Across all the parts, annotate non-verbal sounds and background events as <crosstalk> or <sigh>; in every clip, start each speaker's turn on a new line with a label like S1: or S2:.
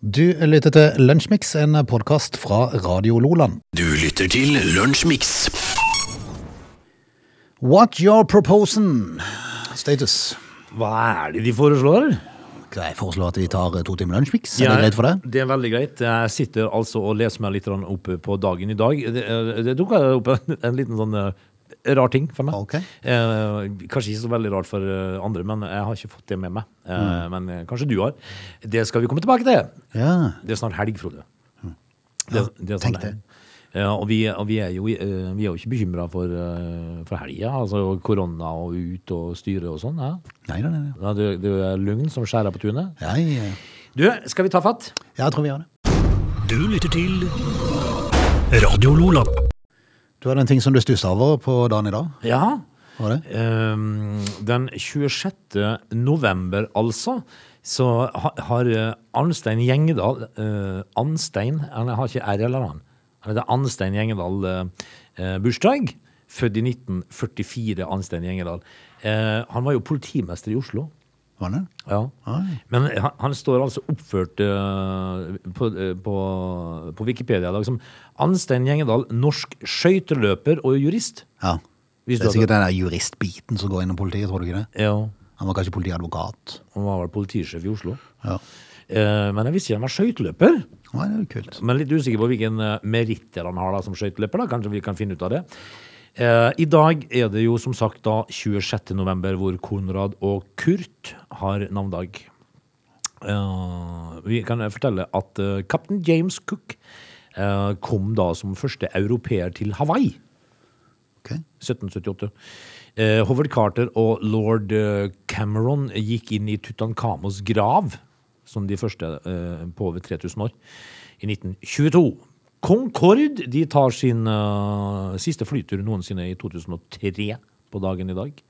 S1: Du lytter til Lunsjmix, en podkast fra Radio Loland.
S2: Du lytter til Lunsjmix.
S1: What you're proposing status.
S3: Hva er det de foreslår?
S1: Skal jeg foreslå at vi tar eh, to timer lunsjmix? Er det greit for deg?
S3: Det er veldig greit. Jeg sitter altså og leser meg litt grann opp på dagen i dag. Det, eh, det dukka opp en, en liten sånn eh, rar ting for meg.
S1: Ok.
S3: Eh, kanskje ikke så veldig rart for eh, andre, men jeg har ikke fått det med meg. Eh,
S1: Mm.
S3: Men eh, kanskje du har. Det skal vi komme tilbake til.
S1: Ja.
S3: Det er snart helg, Frode.
S1: Ja,
S3: det er
S1: Mm. tenk
S3: snart
S1: det.
S3: helg. Ja, og vi, og vi, er jo, eh, vi er jo ikke bekymra for, eh, for helga, altså korona og ut og styre og sånn. Ja.
S1: Nei, nei, nei. nei.
S3: Ja, det, det er lugn som skjærer på tunet.
S1: Ja, ja. ja.
S3: Du, skal vi ta fatt?
S1: Ja, jeg tror vi gjør det.
S2: Du lytter til Radio Lola.
S1: Du hadde en ting som du stussa over på dagen i dag?
S3: Ja.
S1: hva Var det?
S3: Ehm, den 26. november, altså, så ha- har eh, Arnstein Gjengedal eh, Anstein? Han har ikke R eller han. Han heter Anstein Gjengedal eh, eh, bursdag. Født i 1944, Anstein Gjengedal. Eh, han var jo politimester i Oslo.
S1: Var det?
S3: Ja.
S1: Oi.
S3: Men han, han står altså oppført eh, på, eh, på, på Wikipedia i dag som Anstein Gjengedal, norsk skøyteløper og jurist.
S1: Ja. Det
S3: Visste
S1: er
S3: du at-
S1: sikkert den der juristbiten som går innom politiet, tror du ikke det?
S3: Ja,
S1: Han var kanskje politiadvokat.
S3: han var vel politisjef i Oslo.
S1: Ja.
S3: Eh, men jeg visste ikke han var skøyteløper.
S1: Nei, det er jo kult.
S3: Men litt usikker på hvilken eh, meritter han har da som skøyteløper. da. Kanskje vi kan finne ut av det. Eh, I dag er det jo som sagt da 26. november, hvor Konrad og Kurt har navndag. Eh, vi kan fortelle at eh, kaptein James Cook eh, kom da som første europeer til Hawaii.
S1: Ok.
S3: 1778. Eh, Howard Carter og lord eh, Cameron gikk inn i Tutankhamons grav, som de første eh, på over 3000 år, i 1922. Concorde de tar sin eh, siste flytur noensinne i 2003 på dagen i dag.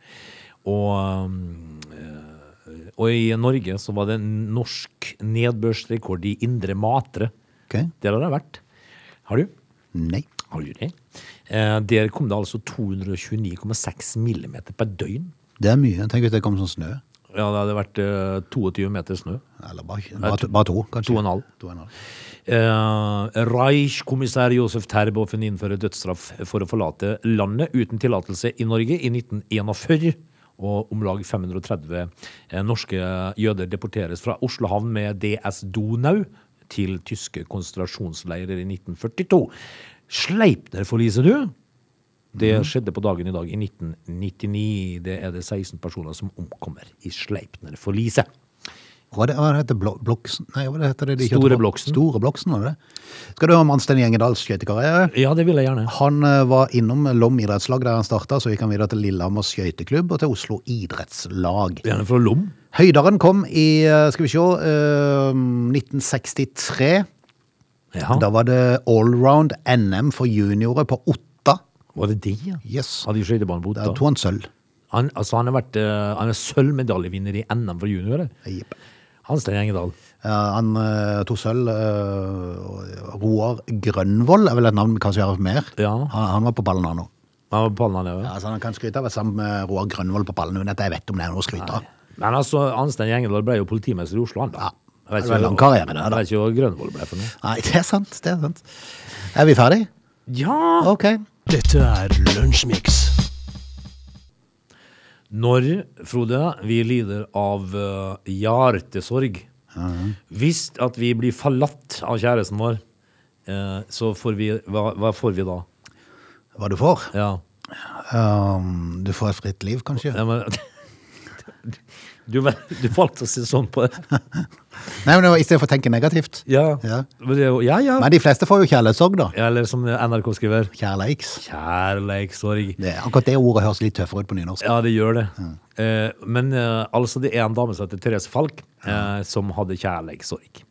S3: Og, eh, og i Norge så var det en norsk nedbørsrekord i indre matre.
S1: Ok.
S3: Der har det vært. Har du?
S1: Nei.
S3: Har du det? Eh, der kom det altså 229,6 millimeter per døgn.
S1: Det er mye. Tenk hvis det kom sånn snø.
S3: Ja, det hadde vært eh, 22 meter snø.
S1: Eller bare, bare, to, bare to, kanskje.
S3: To og en halv.
S1: To og en halv.
S3: Eh, Reich-kommissær Josef Terboven innfører dødsstraff for å forlate landet uten tillatelse i Norge i 1941. Og om lag 530 eh, norske jøder deporteres fra Oslo havn med DS Donau til tyske konsentrasjonsleirer i 1942. Sleipner-forliset, du? Det skjedde på dagen i dag i 1999. Det er det 16 personer som omkommer i Sleipner-forliset.
S1: Hva, det, hva heter blok, bloksen? Nei, hva det heter det de
S3: Store
S1: kjørte på?
S3: Bloksen.
S1: Store bloksen, var det det? Skal du høre om Anstendig Engedals skøytekarriere?
S3: Ja, det vil jeg gjerne.
S1: Han eh, var innom Lom idrettslag der han starta, så gikk han videre til Lillehammer skøyteklubb og til Oslo idrettslag.
S3: Gjerne fra Lom.
S1: Høydaren kom i, eh, skal vi se, eh, 1963.
S3: Ja.
S1: Da var det allround NM for juniorer på Otta.
S3: Var det det, ja?
S1: Yes.
S3: Hadde jo skøytebanen på
S1: Der
S3: Otta.
S1: tok han sølv.
S3: Han, altså, han, har vært, eh, han er sølvmedaljevinner i NM for juniorer.
S1: Jepp.
S3: Hanstein Gjengedal.
S1: Eh, Han eh, tok sølv. eh, og Roar Grønvoll er vel et navn vi kanskje har hørt mer.
S3: Ja.
S1: Han, han var på ballen, han òg.
S3: Han var på pallen, han er, ja.
S1: Altså, han kan skryte av å være sammen med Roar Grønvoll på ballen. uten at jeg vet om det er noe å skryte av.
S3: Men altså, Hanstein Gjengedal ble jo politimester i Oslo, han.
S1: Ja.
S3: da. Jeg vet
S1: Det var en
S3: ikke-
S1: lang karriere, det, da.
S3: Jeg vet ikke hva Grønvoll ble for noe.
S1: Nei, det er sant. det Er sant. Er vi ferdige?
S3: Ja!
S1: Ok.
S2: Dette er Lunsjmix.
S3: Når, Frode, vi lider av eh, hjertesorg Hvis at vi blir forlatt av kjæresten vår, eh, så får vi hva, hva får vi da?
S1: Hva du får?
S3: Ja.
S1: Um, du får et fritt liv, kanskje?
S3: ja men, <laughs> du, du valgte å se sånn på det.
S1: Nei, men det var I stedet for å tenke negativt.
S3: Ja.
S1: Ja.
S3: Men det er jo- ja, ja.
S1: Men de fleste får jo kjærlighetssorg, da.
S3: Eller som NRK skriver,
S1: Kjærleiks.
S3: kjærleikssorg.
S1: Det, akkurat det ordet høres litt tøffere ut på nynorsk.
S3: Ja, det gjør det. Eh, men eh, altså, det er en dame som heter Therese Falk, eh, som hadde kjærleikssorg.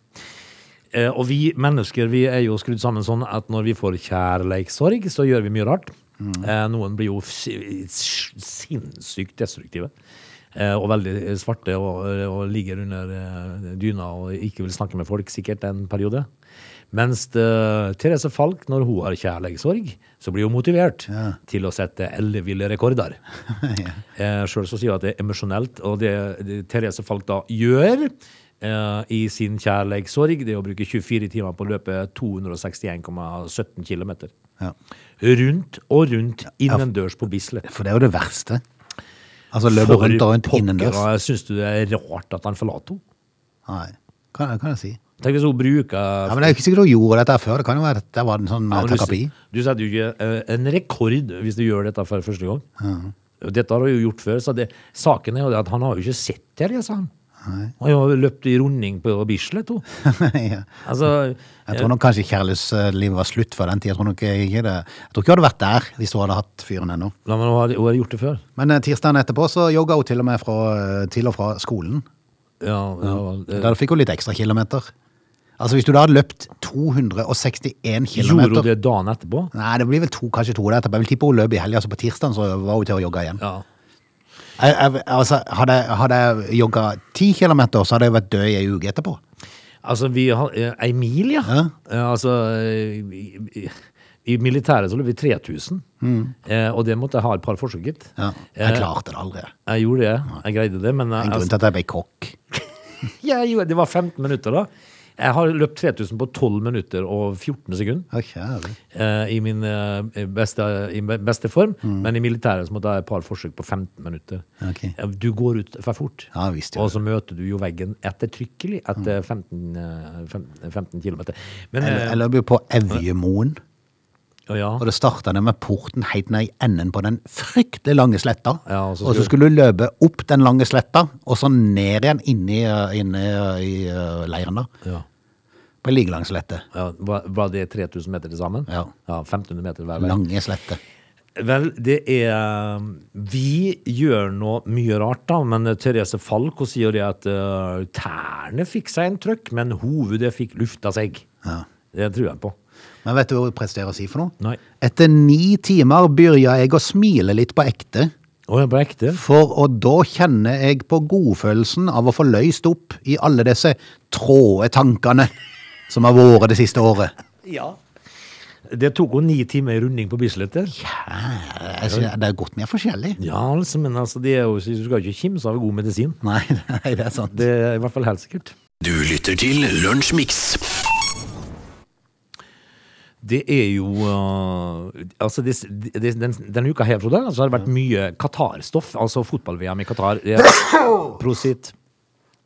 S3: Eh, og vi mennesker vi er jo skrudd sammen sånn at når vi får kjærleikssorg, så gjør vi mye rart. Eh, noen blir jo s- s- sinnssykt destruktive. eh, Og veldig svarte og, og ligger under eh, dyna og ikke vil snakke med folk sikkert en periode. Mens eh, Therese Falk, når hun har kjærleikssorg, så blir hun motivert til å sette elleville rekorder.
S1: <laughs> Ja.
S3: Eh, Sjøl så sier hun at det er emosjonelt, og det, det Therese Falk da gjør, eh, i sin kjærleikssorg, det er å bruke 24 timer på å løpe 261,17 km.
S1: Ja.
S3: Rundt og rundt innendørs på Bislett.
S1: For det er jo det verste. Altså løpe rundt og rundt innendørs.
S3: Syns du det er rart at han forlater henne?
S1: Nei, kan, kan jeg si.
S3: Tenk hvis hun bruker
S1: Ja, men Det er jo ikke sikkert hun gjorde dette her før. Det kan jo være at det var en sånn
S3: Ja,
S1: eh,
S3: men
S1: terapi. <laughs>
S3: Du, du setter jo ikke eh, en rekord hvis du gjør dette for første gang. Dette har hun jo gjort før, så det, saken er jo det at han har jo ikke sett det, jeg, sa han. Han har jo løpt i runding på Bislett, hun.
S1: ja.
S3: Altså,
S1: Jeg tror nok kanskje kjærlighetslivet var slutt før den tid. Jeg tror nok ikke det. Jeg tror ikke hun hadde vært der hvis hun hadde hatt fyren ennå.
S3: la meg, hun har- hun har gjort det før.
S1: Men eh, tirsdagen etterpå så jogga hun til og med fra, eh, til og fra skolen.
S3: Ja, ja, eh,
S1: Der fikk hun litt ekstra kilometer. Altså Hvis du da hadde løpt 261
S3: gjorde hun
S1: kilometer
S3: det dagen etterpå?
S1: Nei, det blir vel to, kanskje to der etterpå. Jeg vil tippe hun løp i helga, så på tirsdag så var hun til å jogge igjen.
S3: Ja.
S1: Jeg, jeg, altså, hadde, hadde jeg jogga ti kilometer, så hadde jeg vært død i ei uke etterpå.
S3: Altså, vi har eh, ei mil, ja.
S1: Ja.
S3: Eh, Altså, eh, i, i- i militæret så løp vi 3000, eh, og det måtte jeg ha et par forsøk, gitt.
S1: Ja.
S3: Eh,
S1: Jeg klarte det aldri. Det
S3: Jeg gjorde det, jeg greide det, men eh,
S1: er En
S3: altså-
S1: grunn til at jeg ble kokk.
S3: Ja, jo, det var 15 minutter da. Jeg har løpt 3000 på 12 minutter og 14 sekunder
S1: Å, kjære.
S3: eh, i min eh, beste, i be- beste form, men i militæret så måtte jeg ha et par forsøk på 15 minutter.
S1: Ok.
S3: Eh, Du går ut for fort,
S1: Ja, visst gjør Mm.
S3: og så møter du jo veggen ettertrykkelig etter 15, eh, 15, 15 kilometer. Men,
S1: Jeg,
S3: eh,
S1: jeg løp jo på Evjemoen,
S3: å ja,
S1: og det starta med porten helt ned i enden på den fryktelig lange sletta.
S3: Ja, og så
S1: og så
S3: skulle-
S1: skulle du løpe opp den lange sletta, og så ned igjen inni eh, inne i eh, leiren, da.
S3: ja,
S1: På ei like lang slette.
S3: ja, var, var det 3000 meter til sammen?
S1: Ja.
S3: 1500 meter hver vei.
S1: Lange slette.
S3: Vel, det er eh, Vi gjør nå mye rart, da, men eh, Therese Falk hun sier det at eh, tærne fikk seg en trøkk, men hovedet fikk lufta seg.
S1: Ja.
S3: Det tror jeg på.
S1: Men vet du hva hun presterer å si for noe?
S3: Nei.
S1: Etter ni timer begynner jeg å smile litt på ekte,
S3: Å, jeg på ekte?
S1: for og da kjenner jeg på godfølelsen av å få løst opp i alle disse tråde tankene som har vært det siste året.
S3: Ja. Det tok henne ni timer i runding på Bislett. der.
S1: Jeg synes det er godt vi er forskjellige.
S3: Ja, altså, men altså, det er jo, du skal jo ikke kimse av god medisin.
S1: Nei, <laughs> nei, det er sant.
S3: Det er i hvert fall helt sikkert.
S2: Du lytter til Lunsjmix.
S3: Det er jo eh, Altså, det, det, den, denne uka her, Frode, så har det vært mye Qatar-stoff. Altså fotball-VM i Qatar. Det er- Prosit.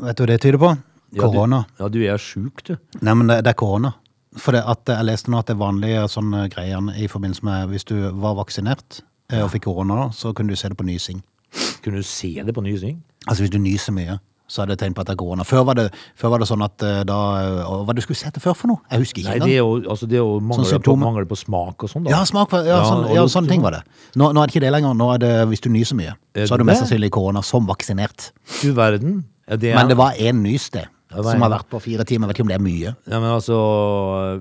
S1: Vet du hva det tyder på? Korona.
S3: Ja, du, ja, du er sjuk, du.
S1: Nei, men det, det er korona. For det at jeg leste nå at det er vanlige sånne greier i forbindelse med hvis du var vaksinert eh, og fikk korona, så kunne du se det på nysing.
S3: Kunne du se det på Nysing?
S1: Altså hvis du nyser mye, så er det tegn på at det er korona. Før var det, før var det sånn at eh, da eh, Hva var det du skulle sette før for noe? Jeg husker ikke
S3: Nei, det er jo, altså, det er jo mangel, på,
S1: symptomer.
S3: mangel på smak og sånn, da.
S1: Ja, smak, var- ja,
S3: Ja,
S1: sånn,
S3: og
S1: ja,
S3: lukt
S1: sånne
S3: og
S1: ting
S3: sånn.
S1: var det. Nå, nå er det ikke det lenger. Nå er det hvis du nyser mye.
S3: Er
S1: Så har
S3: det
S1: du mest
S3: det?
S1: sannsynlig korona som vaksinert.
S3: Du verden. Ja, det er,
S1: Men det var én nys, det.
S3: var
S1: Som
S3: en.
S1: har vært på fire timer. Vet ikke om det er mye.
S3: ja, men altså,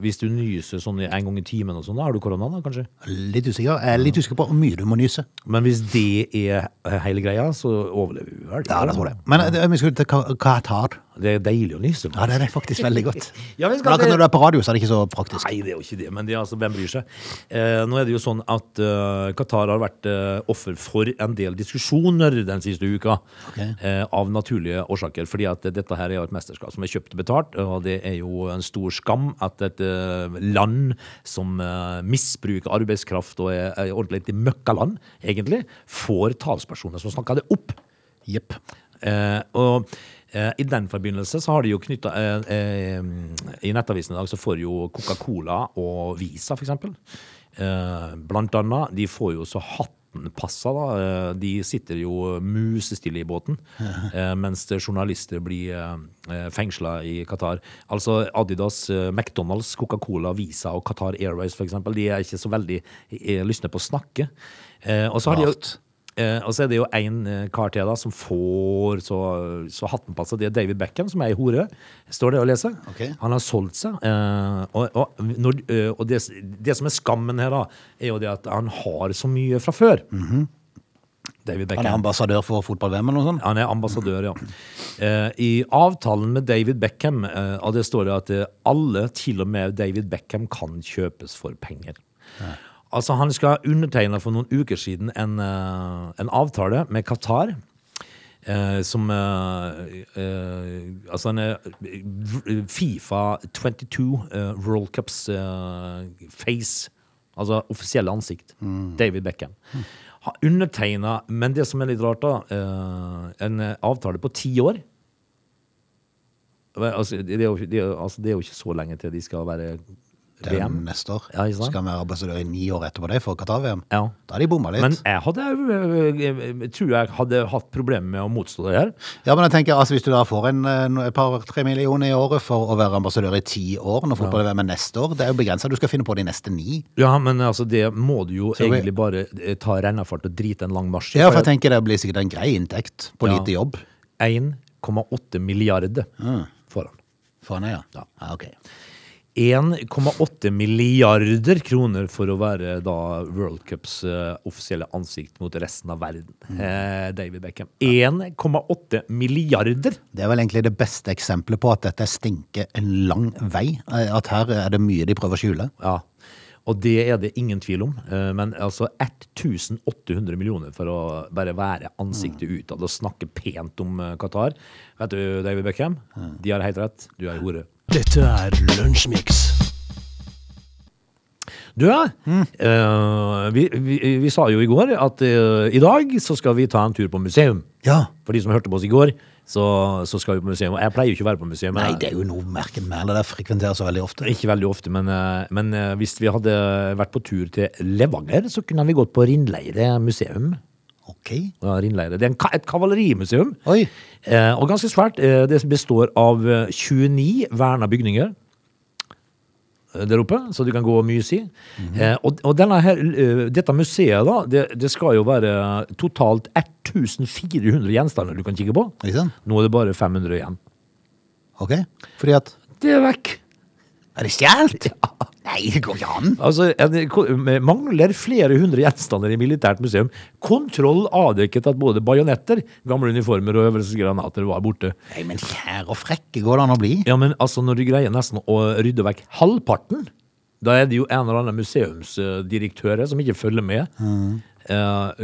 S3: hvis du nyser sånn en gang i timen og sånn, da har du korona, da, kanskje?
S1: Litt usikker. Jeg er litt usikker på hvor mye du må nyse.
S3: Men hvis det er hele greia, så overlever vi vel.
S1: Men eh, vi skulle til Ka- Qatar.
S3: Det er deilig å nyse.
S1: Ja, det er det faktisk veldig godt.
S3: <laughs> Ja, vi
S1: Men
S3: skal
S1: akkurat
S3: til-
S1: når du er på radio, så er det ikke så praktisk.
S3: Nei, det er jo ikke det, men det er altså, hvem bryr seg? Eh, nå er det jo sånn at eh, Qatar har vært eh, offer for en del diskusjoner den siste uka,
S1: Ok.
S3: eh, av naturlige årsaker, fordi at dette her er jo et mesterskap som er kjøpt og betalt, og det er jo en stor skam at et eh, land som eh, misbruker arbeidskraft og er, er ordentlig et møkkaland, egentlig, får talspersoner som snakker det opp.
S1: Jepp.
S3: Eh, og eh, i den forbindelse så har de jo knytta eh, eh, I Nettavisen i dag så får jo Coca-Cola og Visa, for eksempel. Eh, blant annet. De får jo så hatten passa, da. Eh, de sitter jo musestille i båten. Eh, mens journalister blir eh, fengsla i Qatar. Altså Adidas, eh, McDonald's, Coca-Cola, Visa og Qatar Airways, for eksempel. De er ikke så veldig eh, lystne på å snakke. Eh, og så har de jo
S1: Rart.
S3: Eh, og så er det jo en eh, kar til da som får så, så hatten passer. Det er David Beckham, som er ei hore. Står det å lese.
S1: Ok.
S3: Han har solgt seg. Eh, og og, når, eh, og det, det som er skammen her, da, er jo det at han har så mye fra før. David
S1: Mhm. Han er
S3: Beckham.
S1: ambassadør for fotball-VM eller noe sånt?
S3: Han er ambassadør, ja. Eh, I avtalen med David Beckham eh, og det står det at eh, alle, til og med David Beckham, kan kjøpes for penger. Altså, han skal undertegne for noen uker siden en, eh, en avtale med Qatar eh, som eh, eh, Altså, han er v- Fifa 22 eh, World Cups eh, face. Altså offisielle ansikt. David Beckham. Har undertegna, men det som er litt rart, da, eh, en eh, avtale på ti år. Men, Altså, det, er jo, det, er, jo- altså, det er jo ikke så lenge til de skal være
S1: Det er jo
S3: VM.
S1: neste år.
S3: Ja, ikke sant?
S1: Skal vi arbeide i ni år etterpå det for Qatar-VM?
S3: Ja.
S1: Da har de bomma litt.
S3: Men jeg hadde jeg tror jeg hadde hatt problemer med å motstå det her.
S1: ja, men jeg tenker, altså Hvis du da får en, eh, no- et par-tre millioner i året for å være ambassadør i ti år når fotball-VM er neste år, det er jo begrensa. Du skal finne på de neste ni.
S3: Ja, men altså, det må du jo
S1: Så vi-
S3: egentlig bare eh, ta rennafart og drite en lang marsj i.
S1: Ja, for jeg tenker det blir sikkert en grei inntekt på
S3: Ja.
S1: lite jobb.
S3: 1,8 milliarder
S1: Ah.
S3: får han.
S1: For han er, ja.
S3: Ja.
S1: ja ok.
S3: 1,8 milliarder kroner for å være da World Cups eh, offisielle ansikt mot resten av verden.
S1: Mm.
S3: Eh, David Beckham. 1,8 milliarder!
S1: Det er vel egentlig det beste eksempelet på at dette stinker en lang vei. Eh, At her er det mye de prøver å skjule.
S3: Ja. Og det er det ingen tvil om. Eh, Men altså 1800 millioner for å bare være ansiktet utad og snakke pent om eh, Qatar. Vet du, David Beckham, de har helt rett. Du er hore.
S2: Dette er Lunsjmix.
S3: Du, ja. Mm. Eh, vi, vi, vi sa jo i går at eh, i dag så skal vi ta en tur på museum.
S1: Ja.
S3: For de som hørte på oss i går, så, så skal vi på museum. Og jeg pleier jo ikke å være på museum.
S1: Nei,
S3: jeg-
S1: det er jo noe merket med det. Det frekventerer så veldig ofte.
S3: Ikke veldig ofte, men, eh, men eh, hvis vi hadde vært på tur til Levanger, så kunne vi gått på Rindleire museum.
S1: Ok.
S3: Ja, Rindleire. Det er en, ka- et kavalerimuseum.
S1: Oi.
S3: Eh, og ganske svært. Eh, det består av eh, 29 verna bygninger eh, der oppe, så du kan gå og myse i. eh, og og denne her, eh, dette museet, da, det, det skal jo være totalt 1400 gjenstander du kan kikke på.
S1: Ikke sant?
S3: Nå er det bare 500 igjen.
S1: Ok. Fordi at
S3: Det er vekk.
S1: Er det <laughs> stjålet? Nei, det går ikke an.
S3: Altså, en, ko- mangler flere hundre gjenstander i militært museum. Kontroll avdekket at både bajonetter, gamle uniformer og øvelsesgranater var borte.
S1: Nei, men kjære og frekke går det an å bli.
S3: Ja, men altså, når du greier nesten å rydde vekk halvparten, da er det jo en eller annen museumsdirektør som ikke følger med. Eh,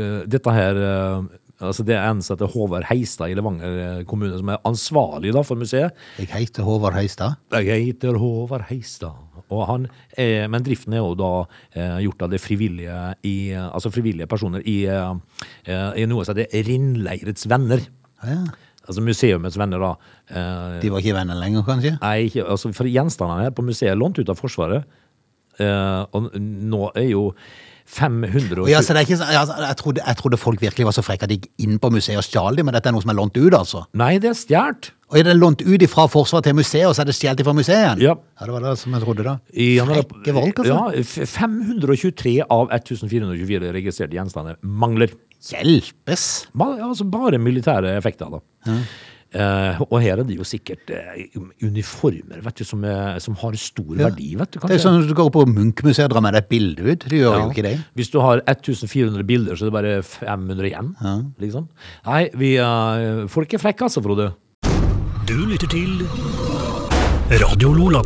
S3: eh, dette her eh, Altså, det er en som heter Håvard Heistad i Levanger eh, kommune, som er ansvarlig da, for museet.
S1: Jeg heter Håvard Høistad.
S3: Jeg heter Håvard Heistad. Og han, eh, men driften er jo da eh, gjort av det frivillige, i, eh, altså frivillige personer i, eh, eh, i noe som heter Rindleirets venner.
S1: Ja.
S3: Altså museumets venner, da. Eh,
S1: De var ikke venner lenger, kanskje?
S3: nei, ikke, altså for gjenstandene her på museet er lånt ut av Forsvaret. Eh, og n- nå er jo 520
S1: Ja, så det er ikke, så- ja, altså, jeg, trodde, jeg trodde folk virkelig var så frekke at de gikk inn på museet og stjal dem, men dette er noe som er lånt ut, altså.
S3: Nei, det er stjålet.
S1: Og er det lånt ut fra Forsvaret til museet, og så er det stjålet fra museet igjen?
S3: Ja.
S1: ja, det var det som jeg trodde, da.
S3: I januar-
S1: Frekke valg, altså.
S3: Ja, f- 523 av 1424 registrerte gjenstander mangler.
S1: Hjelpes!
S3: Ma- Altså bare militære effekter, da. Eh, og her er det jo sikkert eh, uniformer vet du, som, er, som har stor verdi, vet du.
S1: Det er
S3: kanskje.
S1: sånn at du går på Munch-museet og drar med deg et bilde ut. Du gjør jo
S3: Ja.
S1: ikke det.
S3: Hvis du har 1400 bilder, så er det bare 500 igjen. Liksom. Nei, vi, eh, folk er frekke, altså, Frode.
S2: Du lytter til Radio Lola.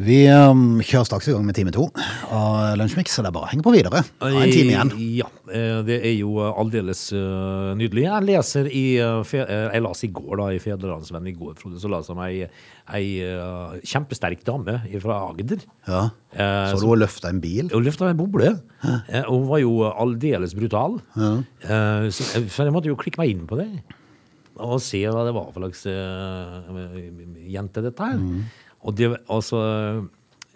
S1: Vi ehm, kjører straks i gang med time to av Lunsjmix, så det er bare å henge på videre. Ha en time igjen.
S3: Ja, eh, det er jo eh, aldeles eh, nydelig. Jeg leser i eh, fe- eh, Jeg las i går, da, i Fedrelandsvennen i går, Frode, så las jeg om ei, ei eh, kjempesterk dame fra Agder.
S1: Ja.
S3: Eh,
S1: Så du hun løfta en bil?
S3: Hun løfta en boble. Eh, og Hun var jo aldeles brutal. Eh, Så, så jeg måtte jo klikke meg inn på det og se hva det var for slags eh, jente dette her.
S1: Mm.
S3: Og det, altså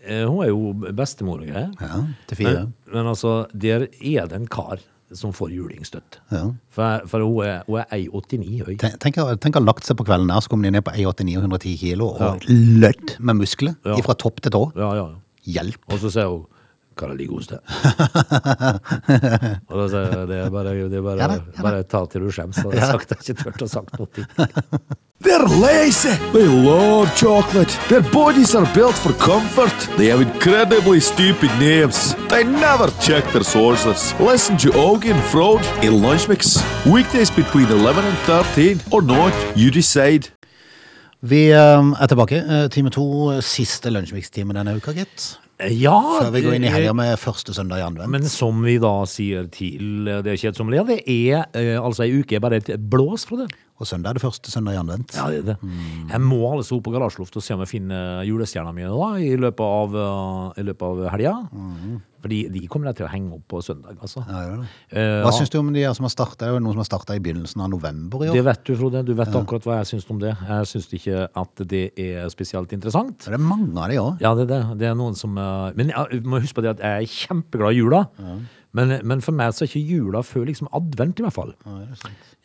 S3: eh, Hun er jo bestemor og greier.
S1: Ja, til fire.
S3: Men, men altså, der er det en kar som får julingsstøtt.
S1: Ja.
S3: For, for hun er, hun er 1,89 høy.
S1: Ten- Tenk å- tenk å ha lagt seg på kvelden der, så kommer de ned på E 189 og 110 kilo og lødd med muskler
S3: Ja.
S1: fra topp til tå.
S3: Ja, ja, ja.
S1: Hjelp!
S3: Og så sier hun Hva er det ligger hos deg? og da sier jeg det er bare, det er bare,
S1: Ja da, ja da.
S3: bare ta til du skjems. Og jeg har sagt, jeg har ikke tørt å sagt noe.
S4: They're lazy. They love chocolate. Their bodies are built for comfort. They have incredibly stupid names. They never check their sources. Listen to Augie and Frode in Lunch Mix. Weekdays between 11 and 13 or not, you decide.
S1: Vi ehm, er tilbake. eh, Time to, siste lunsjmikstime denne uka, gitt.
S3: Eh, Ja,
S1: Før vi går inn i helga
S3: eh,
S1: med første søndag i advent.
S3: men som vi da sier til eh, det kjedsommelige, det er eh, altså ei uke bare et blås fra det.
S1: Å Og søndag er det første søndag i advent.
S3: Ja, det er det. Jeg må altså opp på garasjeloftet og se om jeg finner julestjernene mine da, i løpet av, eh, i løpet av helga. Fordi de kommer jeg til å henge opp på søndag, altså.
S1: Mhm. Ja, det er det.
S3: Eh,
S1: Hva
S3: ja,
S1: syns du om de her som har starta? Det er jo noen som har starta i begynnelsen av november i år.
S3: det vet du, Frode. Du vet akkurat hva jeg syns om det. Jeg syns ikke at det er spesielt interessant.
S1: Det er mange av de òg.
S3: Ja, det er det. Det er noen som eh, Men jeg må huske på det at jeg er kjempeglad i jula. Men, men for meg så er ikke jula før liksom advent, i hvert fall.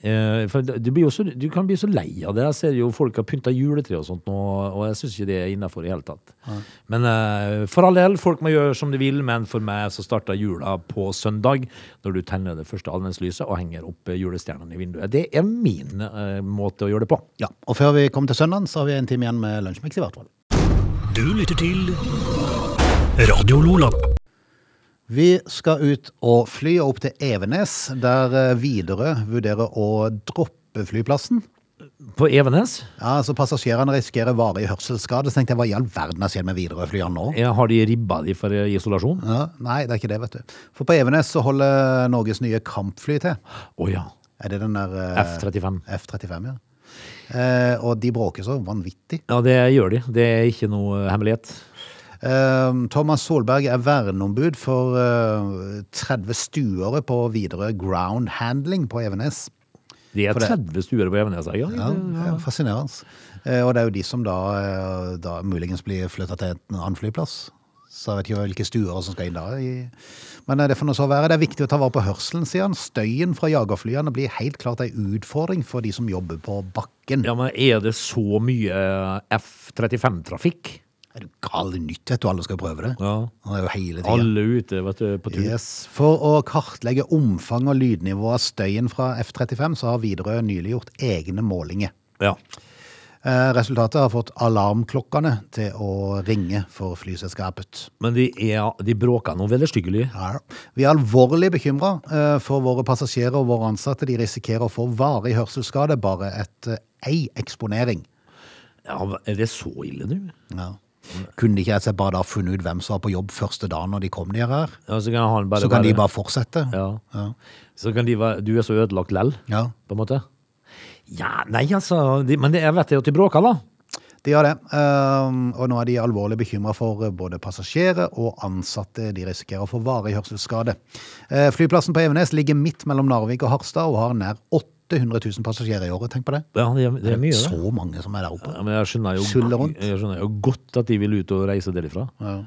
S3: Eh, for det- du, blir jo så, du kan bli så lei av det. Jeg ser jo folk har pynta juletre og sånt nå, og jeg syns ikke det er innafor i hele tatt. Men eh, for all del, folk må gjøre som de vil, men for meg så starter jula på søndag, når du tenner det første adventslyset og henger opp eh, julestjernene i vinduet. Det er min eh, måte å gjøre det på.
S1: Ja. Og før vi kommer til søndagen, så har vi en time igjen med Lunsjmix i hvert fall.
S2: Du lytter til Radio Lola.
S1: Vi skal ut og fly og opp til Evenes, der eh, Widerøe vurderer å droppe flyplassen.
S3: På Evenes
S1: Ja, altså Passasjerene risikerer varig hørselsskade. Så tenkte jeg, hva i all verden har skjedd med Widerøe-flyene nå?
S3: eh, har de ribba de for eh, isolasjon.
S1: Ja, nei, det er ikke det, vet du. For på Evenes så holder Norges nye kampfly til.
S3: Å ja.
S1: Er det den der eh,
S3: F-35.
S1: F-35, ja. Eh, og de bråker så vanvittig.
S3: Ja, det gjør de. Det er ikke noe hemmelighet.
S1: Eh, Thomas Solberg er verneombud for eh, 30 stuere på Widerøe Ground Handling på Evenes.
S3: De er
S1: For det-
S3: 30 stuer på Evenes. Ja,
S1: Ja, det er Fascinerende. Eh, og det er jo de som da, eh, da muligens blir flytta til en annen flyplass. Så jeg vet ikke hvilke stuer som skal inn da. i- Men eh, det får nå så være. Det er viktig å ta vare på hørselen, sier han. Støyen fra jagerflyene blir helt klart ei utfordring for de som jobber på bakken.
S3: ja, men er det så mye eh, F-35-trafikk?
S1: Er du gal i nytt, vet du. Alle skal prøve det.
S3: Ja.
S1: Det er jo hele tiden.
S3: Alle ute vet du, på tur.
S1: Yes. For å kartlegge omfang og lydnivå av støyen fra F-35, så har Widerøe nylig gjort egne målinger.
S3: Ja.
S1: Eh, Resultatet har fått alarmklokkene til å ringe for flyselskapet.
S3: Men de, er, de bråker noe veldig styggelig.
S1: Ja. Vi er alvorlig bekymra for våre passasjerer og våre ansatte. De risikerer å få varig hørselsskade, bare et eh, ei eksponering.
S3: Ja, er det så ille nå?
S1: Ja. Kunne de ikke jeg bare da funnet ut hvem som var på jobb første dagen når de kom ned her?
S3: Ja, så kan, han bare,
S1: Så kan de bare fortsette?
S3: ja.
S1: Ja.
S3: Så kan de være Du er så ødelagt lell,
S1: Ja.
S3: på en måte? Ja, nei, altså de, Men det, jeg vet jo at de bråker, da.
S1: De gjør det, ehm, og nå er de alvorlig bekymra for eh, både passasjerer og ansatte. De risikerer å få varig hørselsskade. Eh, Flyplassen på Evenes ligger midt mellom Narvik og Harstad og har nær 800 000 passasjerer i året. Tenk på det.
S3: Ja, det er, det er mye, det.
S1: Så mange som er der oppe.
S3: Ja, men jeg skjønner,
S1: Sulle
S3: jo,
S1: rundt.
S3: jeg skjønner jo godt at de vil ut og reise derifra.
S1: Ja.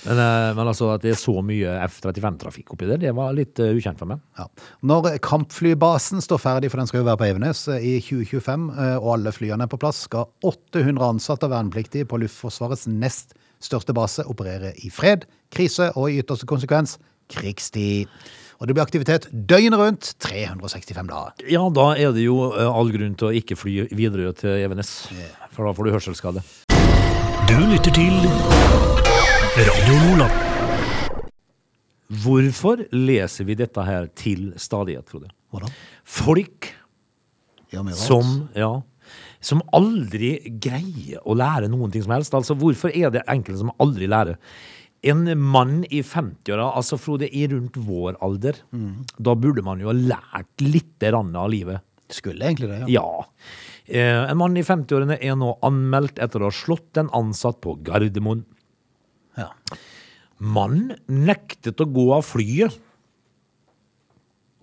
S3: Men, eh, men altså at det er så mye F-35-trafikk oppi der, det var litt eh, ukjent for meg.
S1: Ja. Når kampflybasen står ferdig, for den skal jo være på Evenes eh, i 2025, eh, og alle flyene er på plass, skal 800 ansatte og vernepliktige på Luftforsvarets nest største base operere i fred, krise og i ytterste konsekvens krigstid. Og det blir aktivitet døgnet rundt 365 dager.
S3: Ja, da er det jo eh, all grunn til å ikke fly videre til Evenes, for da får du hørselsskade.
S2: Du lytter til Radio Lola.
S3: Hvorfor leser vi dette her til stadighet, Frode?
S1: Hvordan?
S3: Folk
S1: Gjør mye rart.
S3: som, ja, som aldri greier å lære noen ting som helst. Altså, hvorfor er det enkelte som aldri lærer? En mann i 50-åra, altså Frode, i rundt vår alder, da burde man jo ha lært lite grann av livet.
S1: Skulle egentlig det, ja.
S3: Ja. Eh, en mann i 50-årene er nå anmeldt etter å ha slått en ansatt på Gardermoen.
S1: ja.
S3: Mannen nektet å gå av flyet.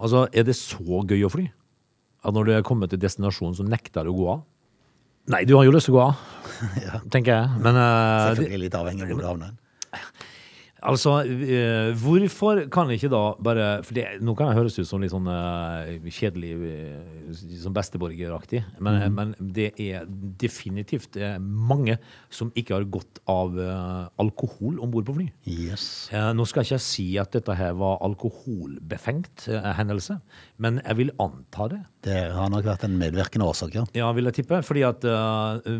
S3: Altså, er det så gøy å fly? At når du er kommet til destinasjonen, så nekter du å gå av? Nei, du har jo lyst til å gå av, tenker jeg. Men eh, det,
S1: Selvfølgelig litt avhengig av hvor du havner.
S3: altså, eh, hvorfor kan ikke da bare For det, nå kan jeg høres ut som litt sånn eh, kjedelig, eh, som besteborgeraktig, men, men det er definitivt eh, mange som ikke har godt av eh, alkohol om bord på fly.
S1: Yes.
S3: Eh, Nå skal ikke jeg si at dette her var alkoholbefengt eh, hendelse, men jeg vil anta det.
S1: Det har nok vært en medvirkende årsak, ja.
S3: Ja, vil jeg tippe. Fordi at eh,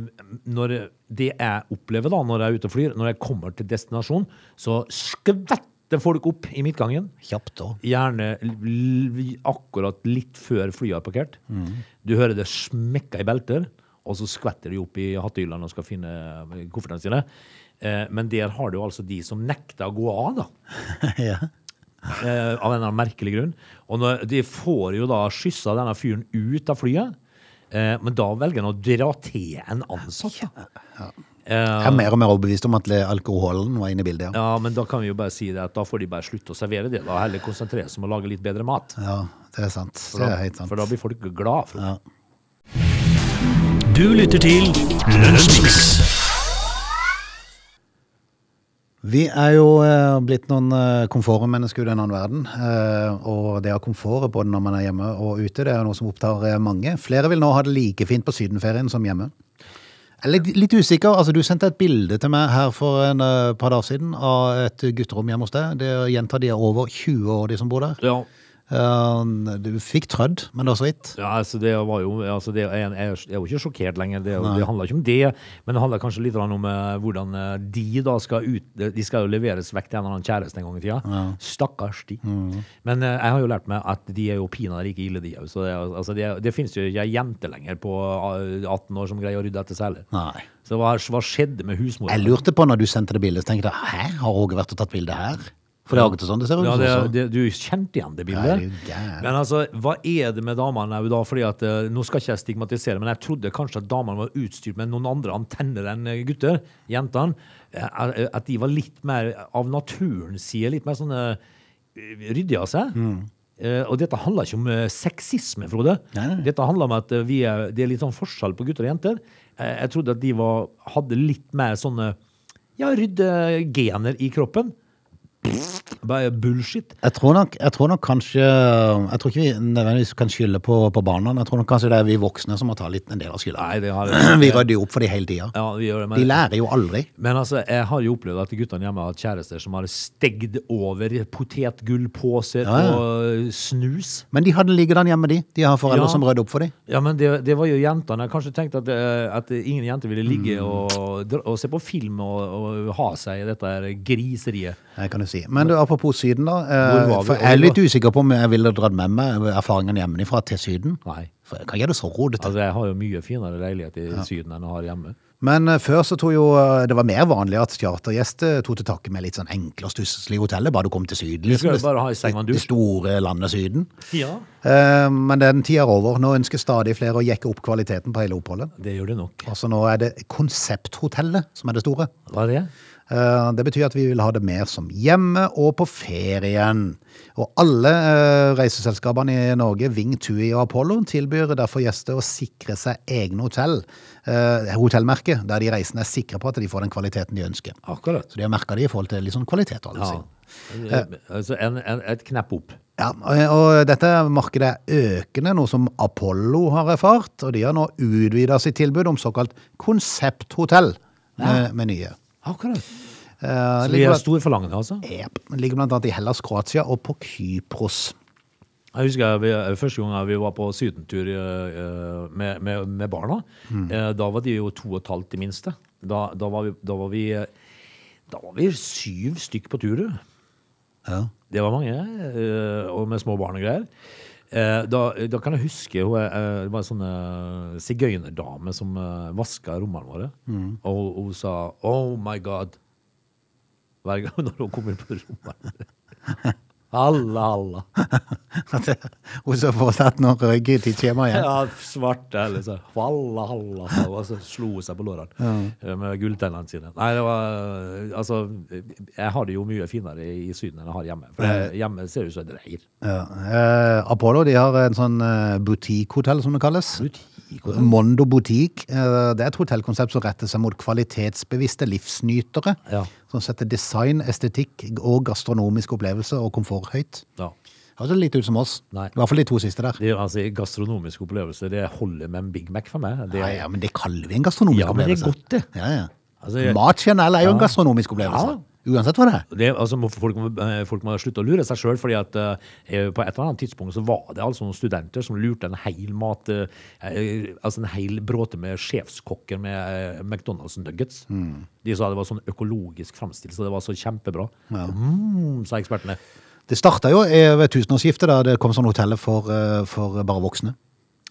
S3: når det jeg opplever da, når jeg er ute og flyr, når jeg kommer til destinasjon, så skvetter folk opp i midtgangen.
S1: Kjapt òg.
S3: Gjerne l- l- akkurat litt før flyet er parkert. Du hører det smekka i belter, og så skvetter de opp i hattehyllene og skal finne koffertene sine. Eh, Men der har du altså de som nekter å gå av, da.
S1: <laughs> ja.
S3: Eh, av en eller annen merkelig grunn. Og når, de får jo da skyssa denne fyren ut av flyet. Eh, men da velger han å dra til en ansatt. da.
S1: Jeg er mer og mer overbevist om at le- alkoholen var inne i bildet. Ja.
S3: Ja, men da kan vi jo bare si det at da får de bare slutte å servere det. Da heller konsentrere seg om å lage litt bedre mat.
S1: ja, det er sant.
S3: For
S1: Det
S3: da,
S1: er helt sant.
S3: For da blir folk glad. For.
S2: Du lytter til Lunsjmix.
S1: Vi er jo eh, blitt noen eh, komfortmennesker i denne verden. eh, og det å ha komfort både når man er hjemme og ute, det er jo noe som opptar eh, mange. Flere vil nå ha det like fint på sydenferien som hjemme. Jeg er litt, litt usikker. altså Du sendte et bilde til meg her for en eh, par dager siden av et gutterom hjemme hos deg. Det gjentar de er over 20 år, de som bor der.
S3: Ja,
S1: Eh, du fikk trødd, men det var så vidt.
S3: ja altså det var jo altså det, jeg, jeg er jo ikke sjokkert lenger. Det, er jo- det handler ikke om det. Men det handler kanskje litt grann om eh, hvordan eh, de da skal ut De skal jo leveres vekk til en eller annen kjæreste en gang i tida. Stakkars de.
S1: Mm.
S3: Men eh, jeg har jo lært meg at de er jo pinadø like ille, de òg. Så det, er- altså det, er- det finnes jo ikke ei jente lenger på eh, 18 år som greier å rydde etter seg heller.
S1: Nei.
S3: Så hva, hva skjedde med husmora?
S1: Jeg lurte på når du sendte det bildet, så tenkte jeg hæ, har Åge vært og tatt bilde her? For det er jo ikke sånn det ser ut.
S3: Ja, det,
S1: også.
S3: det, du kjente igjen
S1: Ja,
S3: det bildet.
S1: det er jo gærent.
S3: men altså, hva er det med damene nå da? Fordi at, eh, nå skal ikke jeg stigmatisere, men jeg trodde kanskje at damene var utstyrt med noen andre antenner enn eh, gutter, jentene. Eh, eh, At de var litt mer, av naturens side, litt mer sånn eh, ryddige av seg.
S1: Mm.
S3: Eh, og dette handler ikke om eh, sexisme, Frode.
S1: Nei, nei.
S3: Dette handler om at eh, vi er, det er litt sånn forskjell på gutter og jenter. Eh, jeg trodde at de var, hadde litt mer sånne ja, ryddegener i kroppen. Bare bullshit.
S1: Jeg tror, nok, jeg tror nok kanskje Jeg tror ikke vi nødvendigvis kan skylde på, på barna. Jeg tror nok kanskje det er vi voksne som må ta litt en del av skylda.
S3: Nei, det har
S1: <clears throat> Vi rydder jo opp for de hele tida.
S3: Ja, vi gjør det,
S1: De
S3: men,
S1: lærer jo aldri.
S3: men altså, jeg har jo opplevd at guttene hjemme har hatt kjærester som har stegd over potetgullpåser
S1: Ja, ja.
S3: og snus.
S1: Men de hadde liggedan hjemme, de. De har foreldre
S3: Ja.
S1: som rydder opp for dem.
S3: Ja, men det, det var jo jentene. Jeg kanskje tenkte at, eh, at ingen jenter ville ligge og, dra- og se på film og, og ha seg i dette her griseriet.
S1: Det kan du si. Men du, apropos Syden, da.
S3: Hvor
S1: Eh,
S3: var vi?
S1: for jeg er litt usikker på om jeg ville dratt med meg erfaringene hjemmefra til Syden.
S3: Nei.
S1: For jeg kan gjøre det så rodete.
S3: Altså, jeg har jo mye finere leilighet i Syden enn jeg har hjemme.
S1: Men eh, før så tror jo eh, det var mer vanlig at chartergjester tok til takke med litt sånn enkle og stusslige hoteller, bare du kom til Syden.
S3: skal jo
S1: liksom.
S3: bare ha en seng og en
S1: Det-
S3: dusj.
S1: Det store landet Syden.
S3: Ja.
S1: Eh, Men den tida er over. Nå ønsker stadig flere å jekke opp kvaliteten på hele oppholdet.
S3: Det gjør det nok.
S1: Altså Nå er det konsepthotellet som er det store.
S3: Hva er det?
S1: Eh, Det betyr at vi vil ha det mer som hjemme og på ferien. Og alle eh, reiseselskapene i Norge, Ving, Tui og Apollo, tilbyr derfor gjester å sikre seg egne hotell. eh, Hotellmerker der de reisende er sikre på at de får den kvaliteten de ønsker.
S3: Akkurat.
S1: Så de har merka det i forhold til litt sånn kvalitet. og alt
S3: Ja.
S1: sin.
S3: Altså, en, en, et knepp opp.
S1: Ja, og- og dette markedet er økende, noe som Apollo har erfart, og de har nå utvida sitt tilbud om såkalt konsepthotell med, med nye.
S3: Akkurat.
S1: Eh,
S3: Så vi
S1: ligger,
S3: er
S1: blant,
S3: stor forlangende, altså?
S1: Jep, ligger blant annet i Hellas, Kroatia og på Kypros.
S3: Jeg husker vi, eh, første gang vi var på sydentur eh, eh, med, med, med barna. eh, Da var de jo to og et halvt, det minste. Da, da, var vi, da, var vi, eh, da var vi syv stykk på tur. du.
S1: <laughs> Ja.
S3: Det var mange, eh, og med små barn og greier. Eh, Da, da kan jeg huske hun eh, Det var en sånn eh, sigøynerdame som eh, vaska rommene våre. Og hun- hun sa 'Oh my God' hver gang <laughs> når hun kom inn på rommet. <laughs> Halla, halla.
S1: Hun så for seg at nå røyk i tidsskjemaet igjen.
S3: <laughs> Ja, svarte eller så Halla, halla, sa hun, og så slo hun seg på lårene eh, med gulltennene sine. Nei, det var eh, Altså, jeg har det jo mye finere i i Syden enn jeg har hjemme. For jeg, hjemme ser det ut som et reir.
S1: Ja. Eh, Apollo de har en sånn eh, butikkhotell, som det kalles. Mondo Boutique. eh, Det er et hotellkonsept som retter seg mot kvalitetsbevisste livsnytere.
S3: Ja.
S1: Som setter design, estetikk og gastronomisk opplevelse og komfort høyt.
S3: Ja.
S1: Høres litt ut som oss.
S3: Nei.
S1: I hvert fall de to siste der.
S3: Det er altså gastronomisk opplevelse. Det holder med en Big Mac for meg. Det,
S1: Nei, ja, men det kaller vi en gastronomisk
S3: Ja, men det er
S1: opplevelse.
S3: godt, det.
S1: Ja, ja.
S3: Altså, jeg-
S1: Mat generelt er jo en gastronomisk opplevelse. Uansett hva det er.
S3: det, altså, må- folk, må, eh, folk må slutte å lure seg sjøl, fordi at eh, på et eller annet tidspunkt så var det altså noen studenter som lurte en hel mat eh, eh, Altså en hel bråte med sjefskokker med eh, McDonald's nuggets.
S1: Mm.
S3: De sa det var sånn økologisk framstilt, så det var så kjempebra. Mm, sa ekspertene.
S1: Det starta jo eh, ved tusenårsskiftet, da det kom sånn hoteller for, eh, for bare voksne.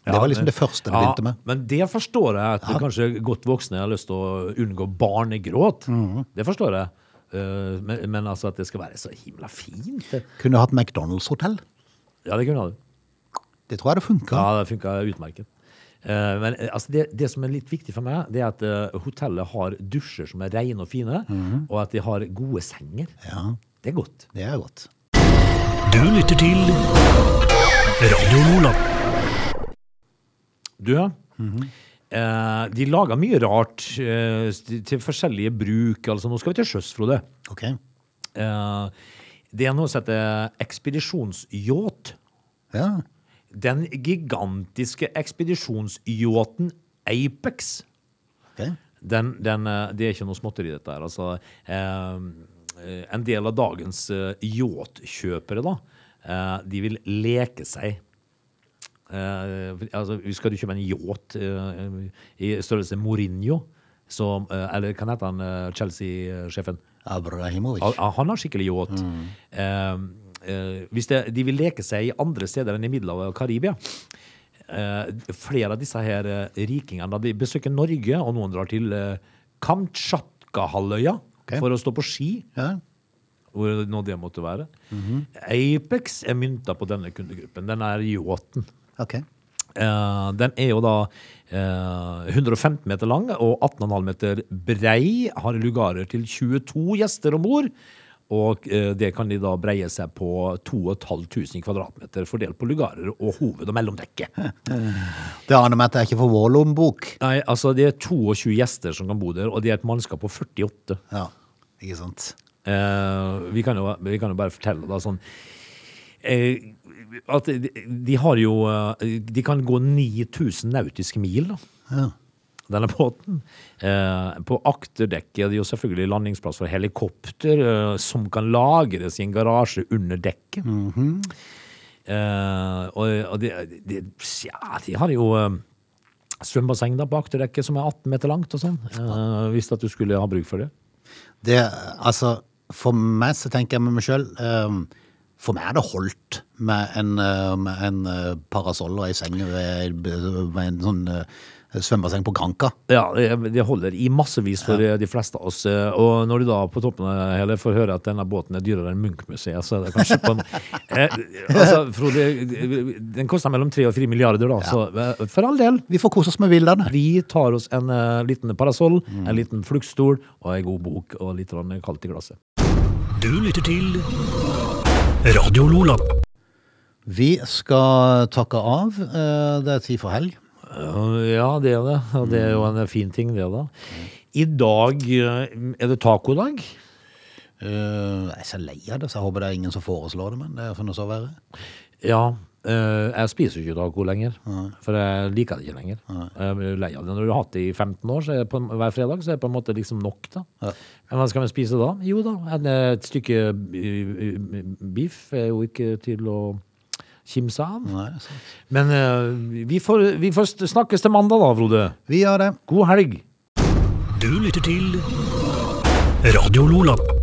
S1: det
S3: Ja,
S1: var liksom
S3: men-
S1: det første det begynte med.
S3: Men det forstår jeg at kanskje godt voksne har lyst til å unngå barnegråt.
S1: Mm.
S3: Det forstår jeg. Eh, Men, men altså at det skal være så himla fint det-
S1: Kunne hatt McDonald's-hotell.
S3: Ja, det kunne jeg.
S1: Det tror jeg det funka.
S3: Ja, det funka utmerket. Eh, Eh, men eh, altså, det, det som er litt viktig for meg, det er at eh, hotellet har dusjer som er rene og fine, og at de har gode senger.
S1: Ja,
S3: Det er godt.
S1: det er godt.
S2: Du lytter til Radio Lola.
S3: Du, ja. eh, de lager mye rart eh, til til forskjellige bruk. Altså, nå skal vi til sjøs, Frode.
S1: Ok.
S3: Eh, det er noe som heter ekspedisjonsyacht.
S1: Ja.
S3: Den gigantiske ekspedisjonsyachten Apex.
S1: ok.
S3: Den, den, eh, det er ikke noe småtteri, dette her. Altså, eh, eh, en del av dagens eh, yachtkjøpere, da, eh, de vil leke seg. Eh, altså, skal du kjøpe en yacht eh, i størrelse Mourinho, som, eh, eller kan hete han eh, Chelsea-sjefen?
S1: Abrahimovic.
S3: Ja, ja, Han har skikkelig yacht. Eh, eh, hvis det, de vil leke seg i andre steder enn i Middelhavet og Karibia eh, Flere av disse her eh, rikingene da, de besøker Norge, og noen drar til eh, Kamtsjatka-halvøya
S1: Ok.
S3: for å stå på ski,
S1: Ja.
S3: hvor nå det måtte være. Apex er mynta på denne kundegruppen. Den er yachten.
S1: Ok.
S3: Eh, den er jo da eh, 115 meter lang og 18,5 meter brei. Har lugarer til 22 gjester om bord. Og eh, det kan de da breie seg på 2500 kvadratmeter, fordelt på lugarer og hoved- og mellomdekke.
S1: Det aner meg at jeg ikke får vår lommebok.
S3: Nei, altså Det er 22 gjester som kan bo der, og det er et mannskap på 48.
S1: Ja, ikke sant.
S3: Eh, vi, kan jo, vi kan jo bare fortelle da sånn eh, At de, de har jo eh, De kan gå 9000 nautiske mil, da.
S1: Ja.
S3: denne båten. Eh, på akterdekket er det jo selvfølgelig landingsplass for helikopter, eh, som kan lagres i en garasje under dekket. eh, og og de, de, ja, de har jo eh, svømmebasseng da på akterdekket som er 18 meter langt og sånn, eh, hvis at du skulle ha bruk for det.
S1: Det, altså, for meg så tenker jeg med meg sjøl For meg er det holdt med en, eh, med en eh, parasoll og ei seng ved, med en sånn eh, svømmebasseng på Granka.
S3: Ja, det det holder i massevis for eh, de fleste av oss. eh, Og når du da på toppen av det hele får høre at denne båten er dyrere enn Munch-museet, så er det kanskje på en eh, Altså, Frode, den koster mellom 3 og 4 milliarder, da. Så eh, for all del.
S1: Vi får kose oss med bildene.
S3: Vi tar oss en eh, liten parasoll, en liten fluktstol og ei god bok og litt grann kaldt i glasset.
S2: Du lytter til Radio Lola.
S1: Vi skal takke av. eh, Det er tid for helg.
S3: Eh, Ja, det er det. Og det er jo en fin ting, det, da. I dag eh, er det tacodag.
S1: Eh, Jeg er så lei av det, så jeg håper det er ingen som foreslår det, men det får nå så være.
S3: Ja. eh, jeg spiser ikke taco lenger, for jeg liker det ikke lenger. Jeg blir lei av det. Når du har hatt det i 15 år, så er det på, hver fredag, så er det på en måte liksom nok, da. Men hva skal vi spise da? Jo da, en, eh, et stykke eh, biff er jo ikke til å kimse av.
S1: Nei, så.
S3: Men eh, vi, får, vi får st- snakkes til mandag, da, Frode.
S1: Vi gjør det.
S3: God helg.
S2: Du lytter til Radio Lola.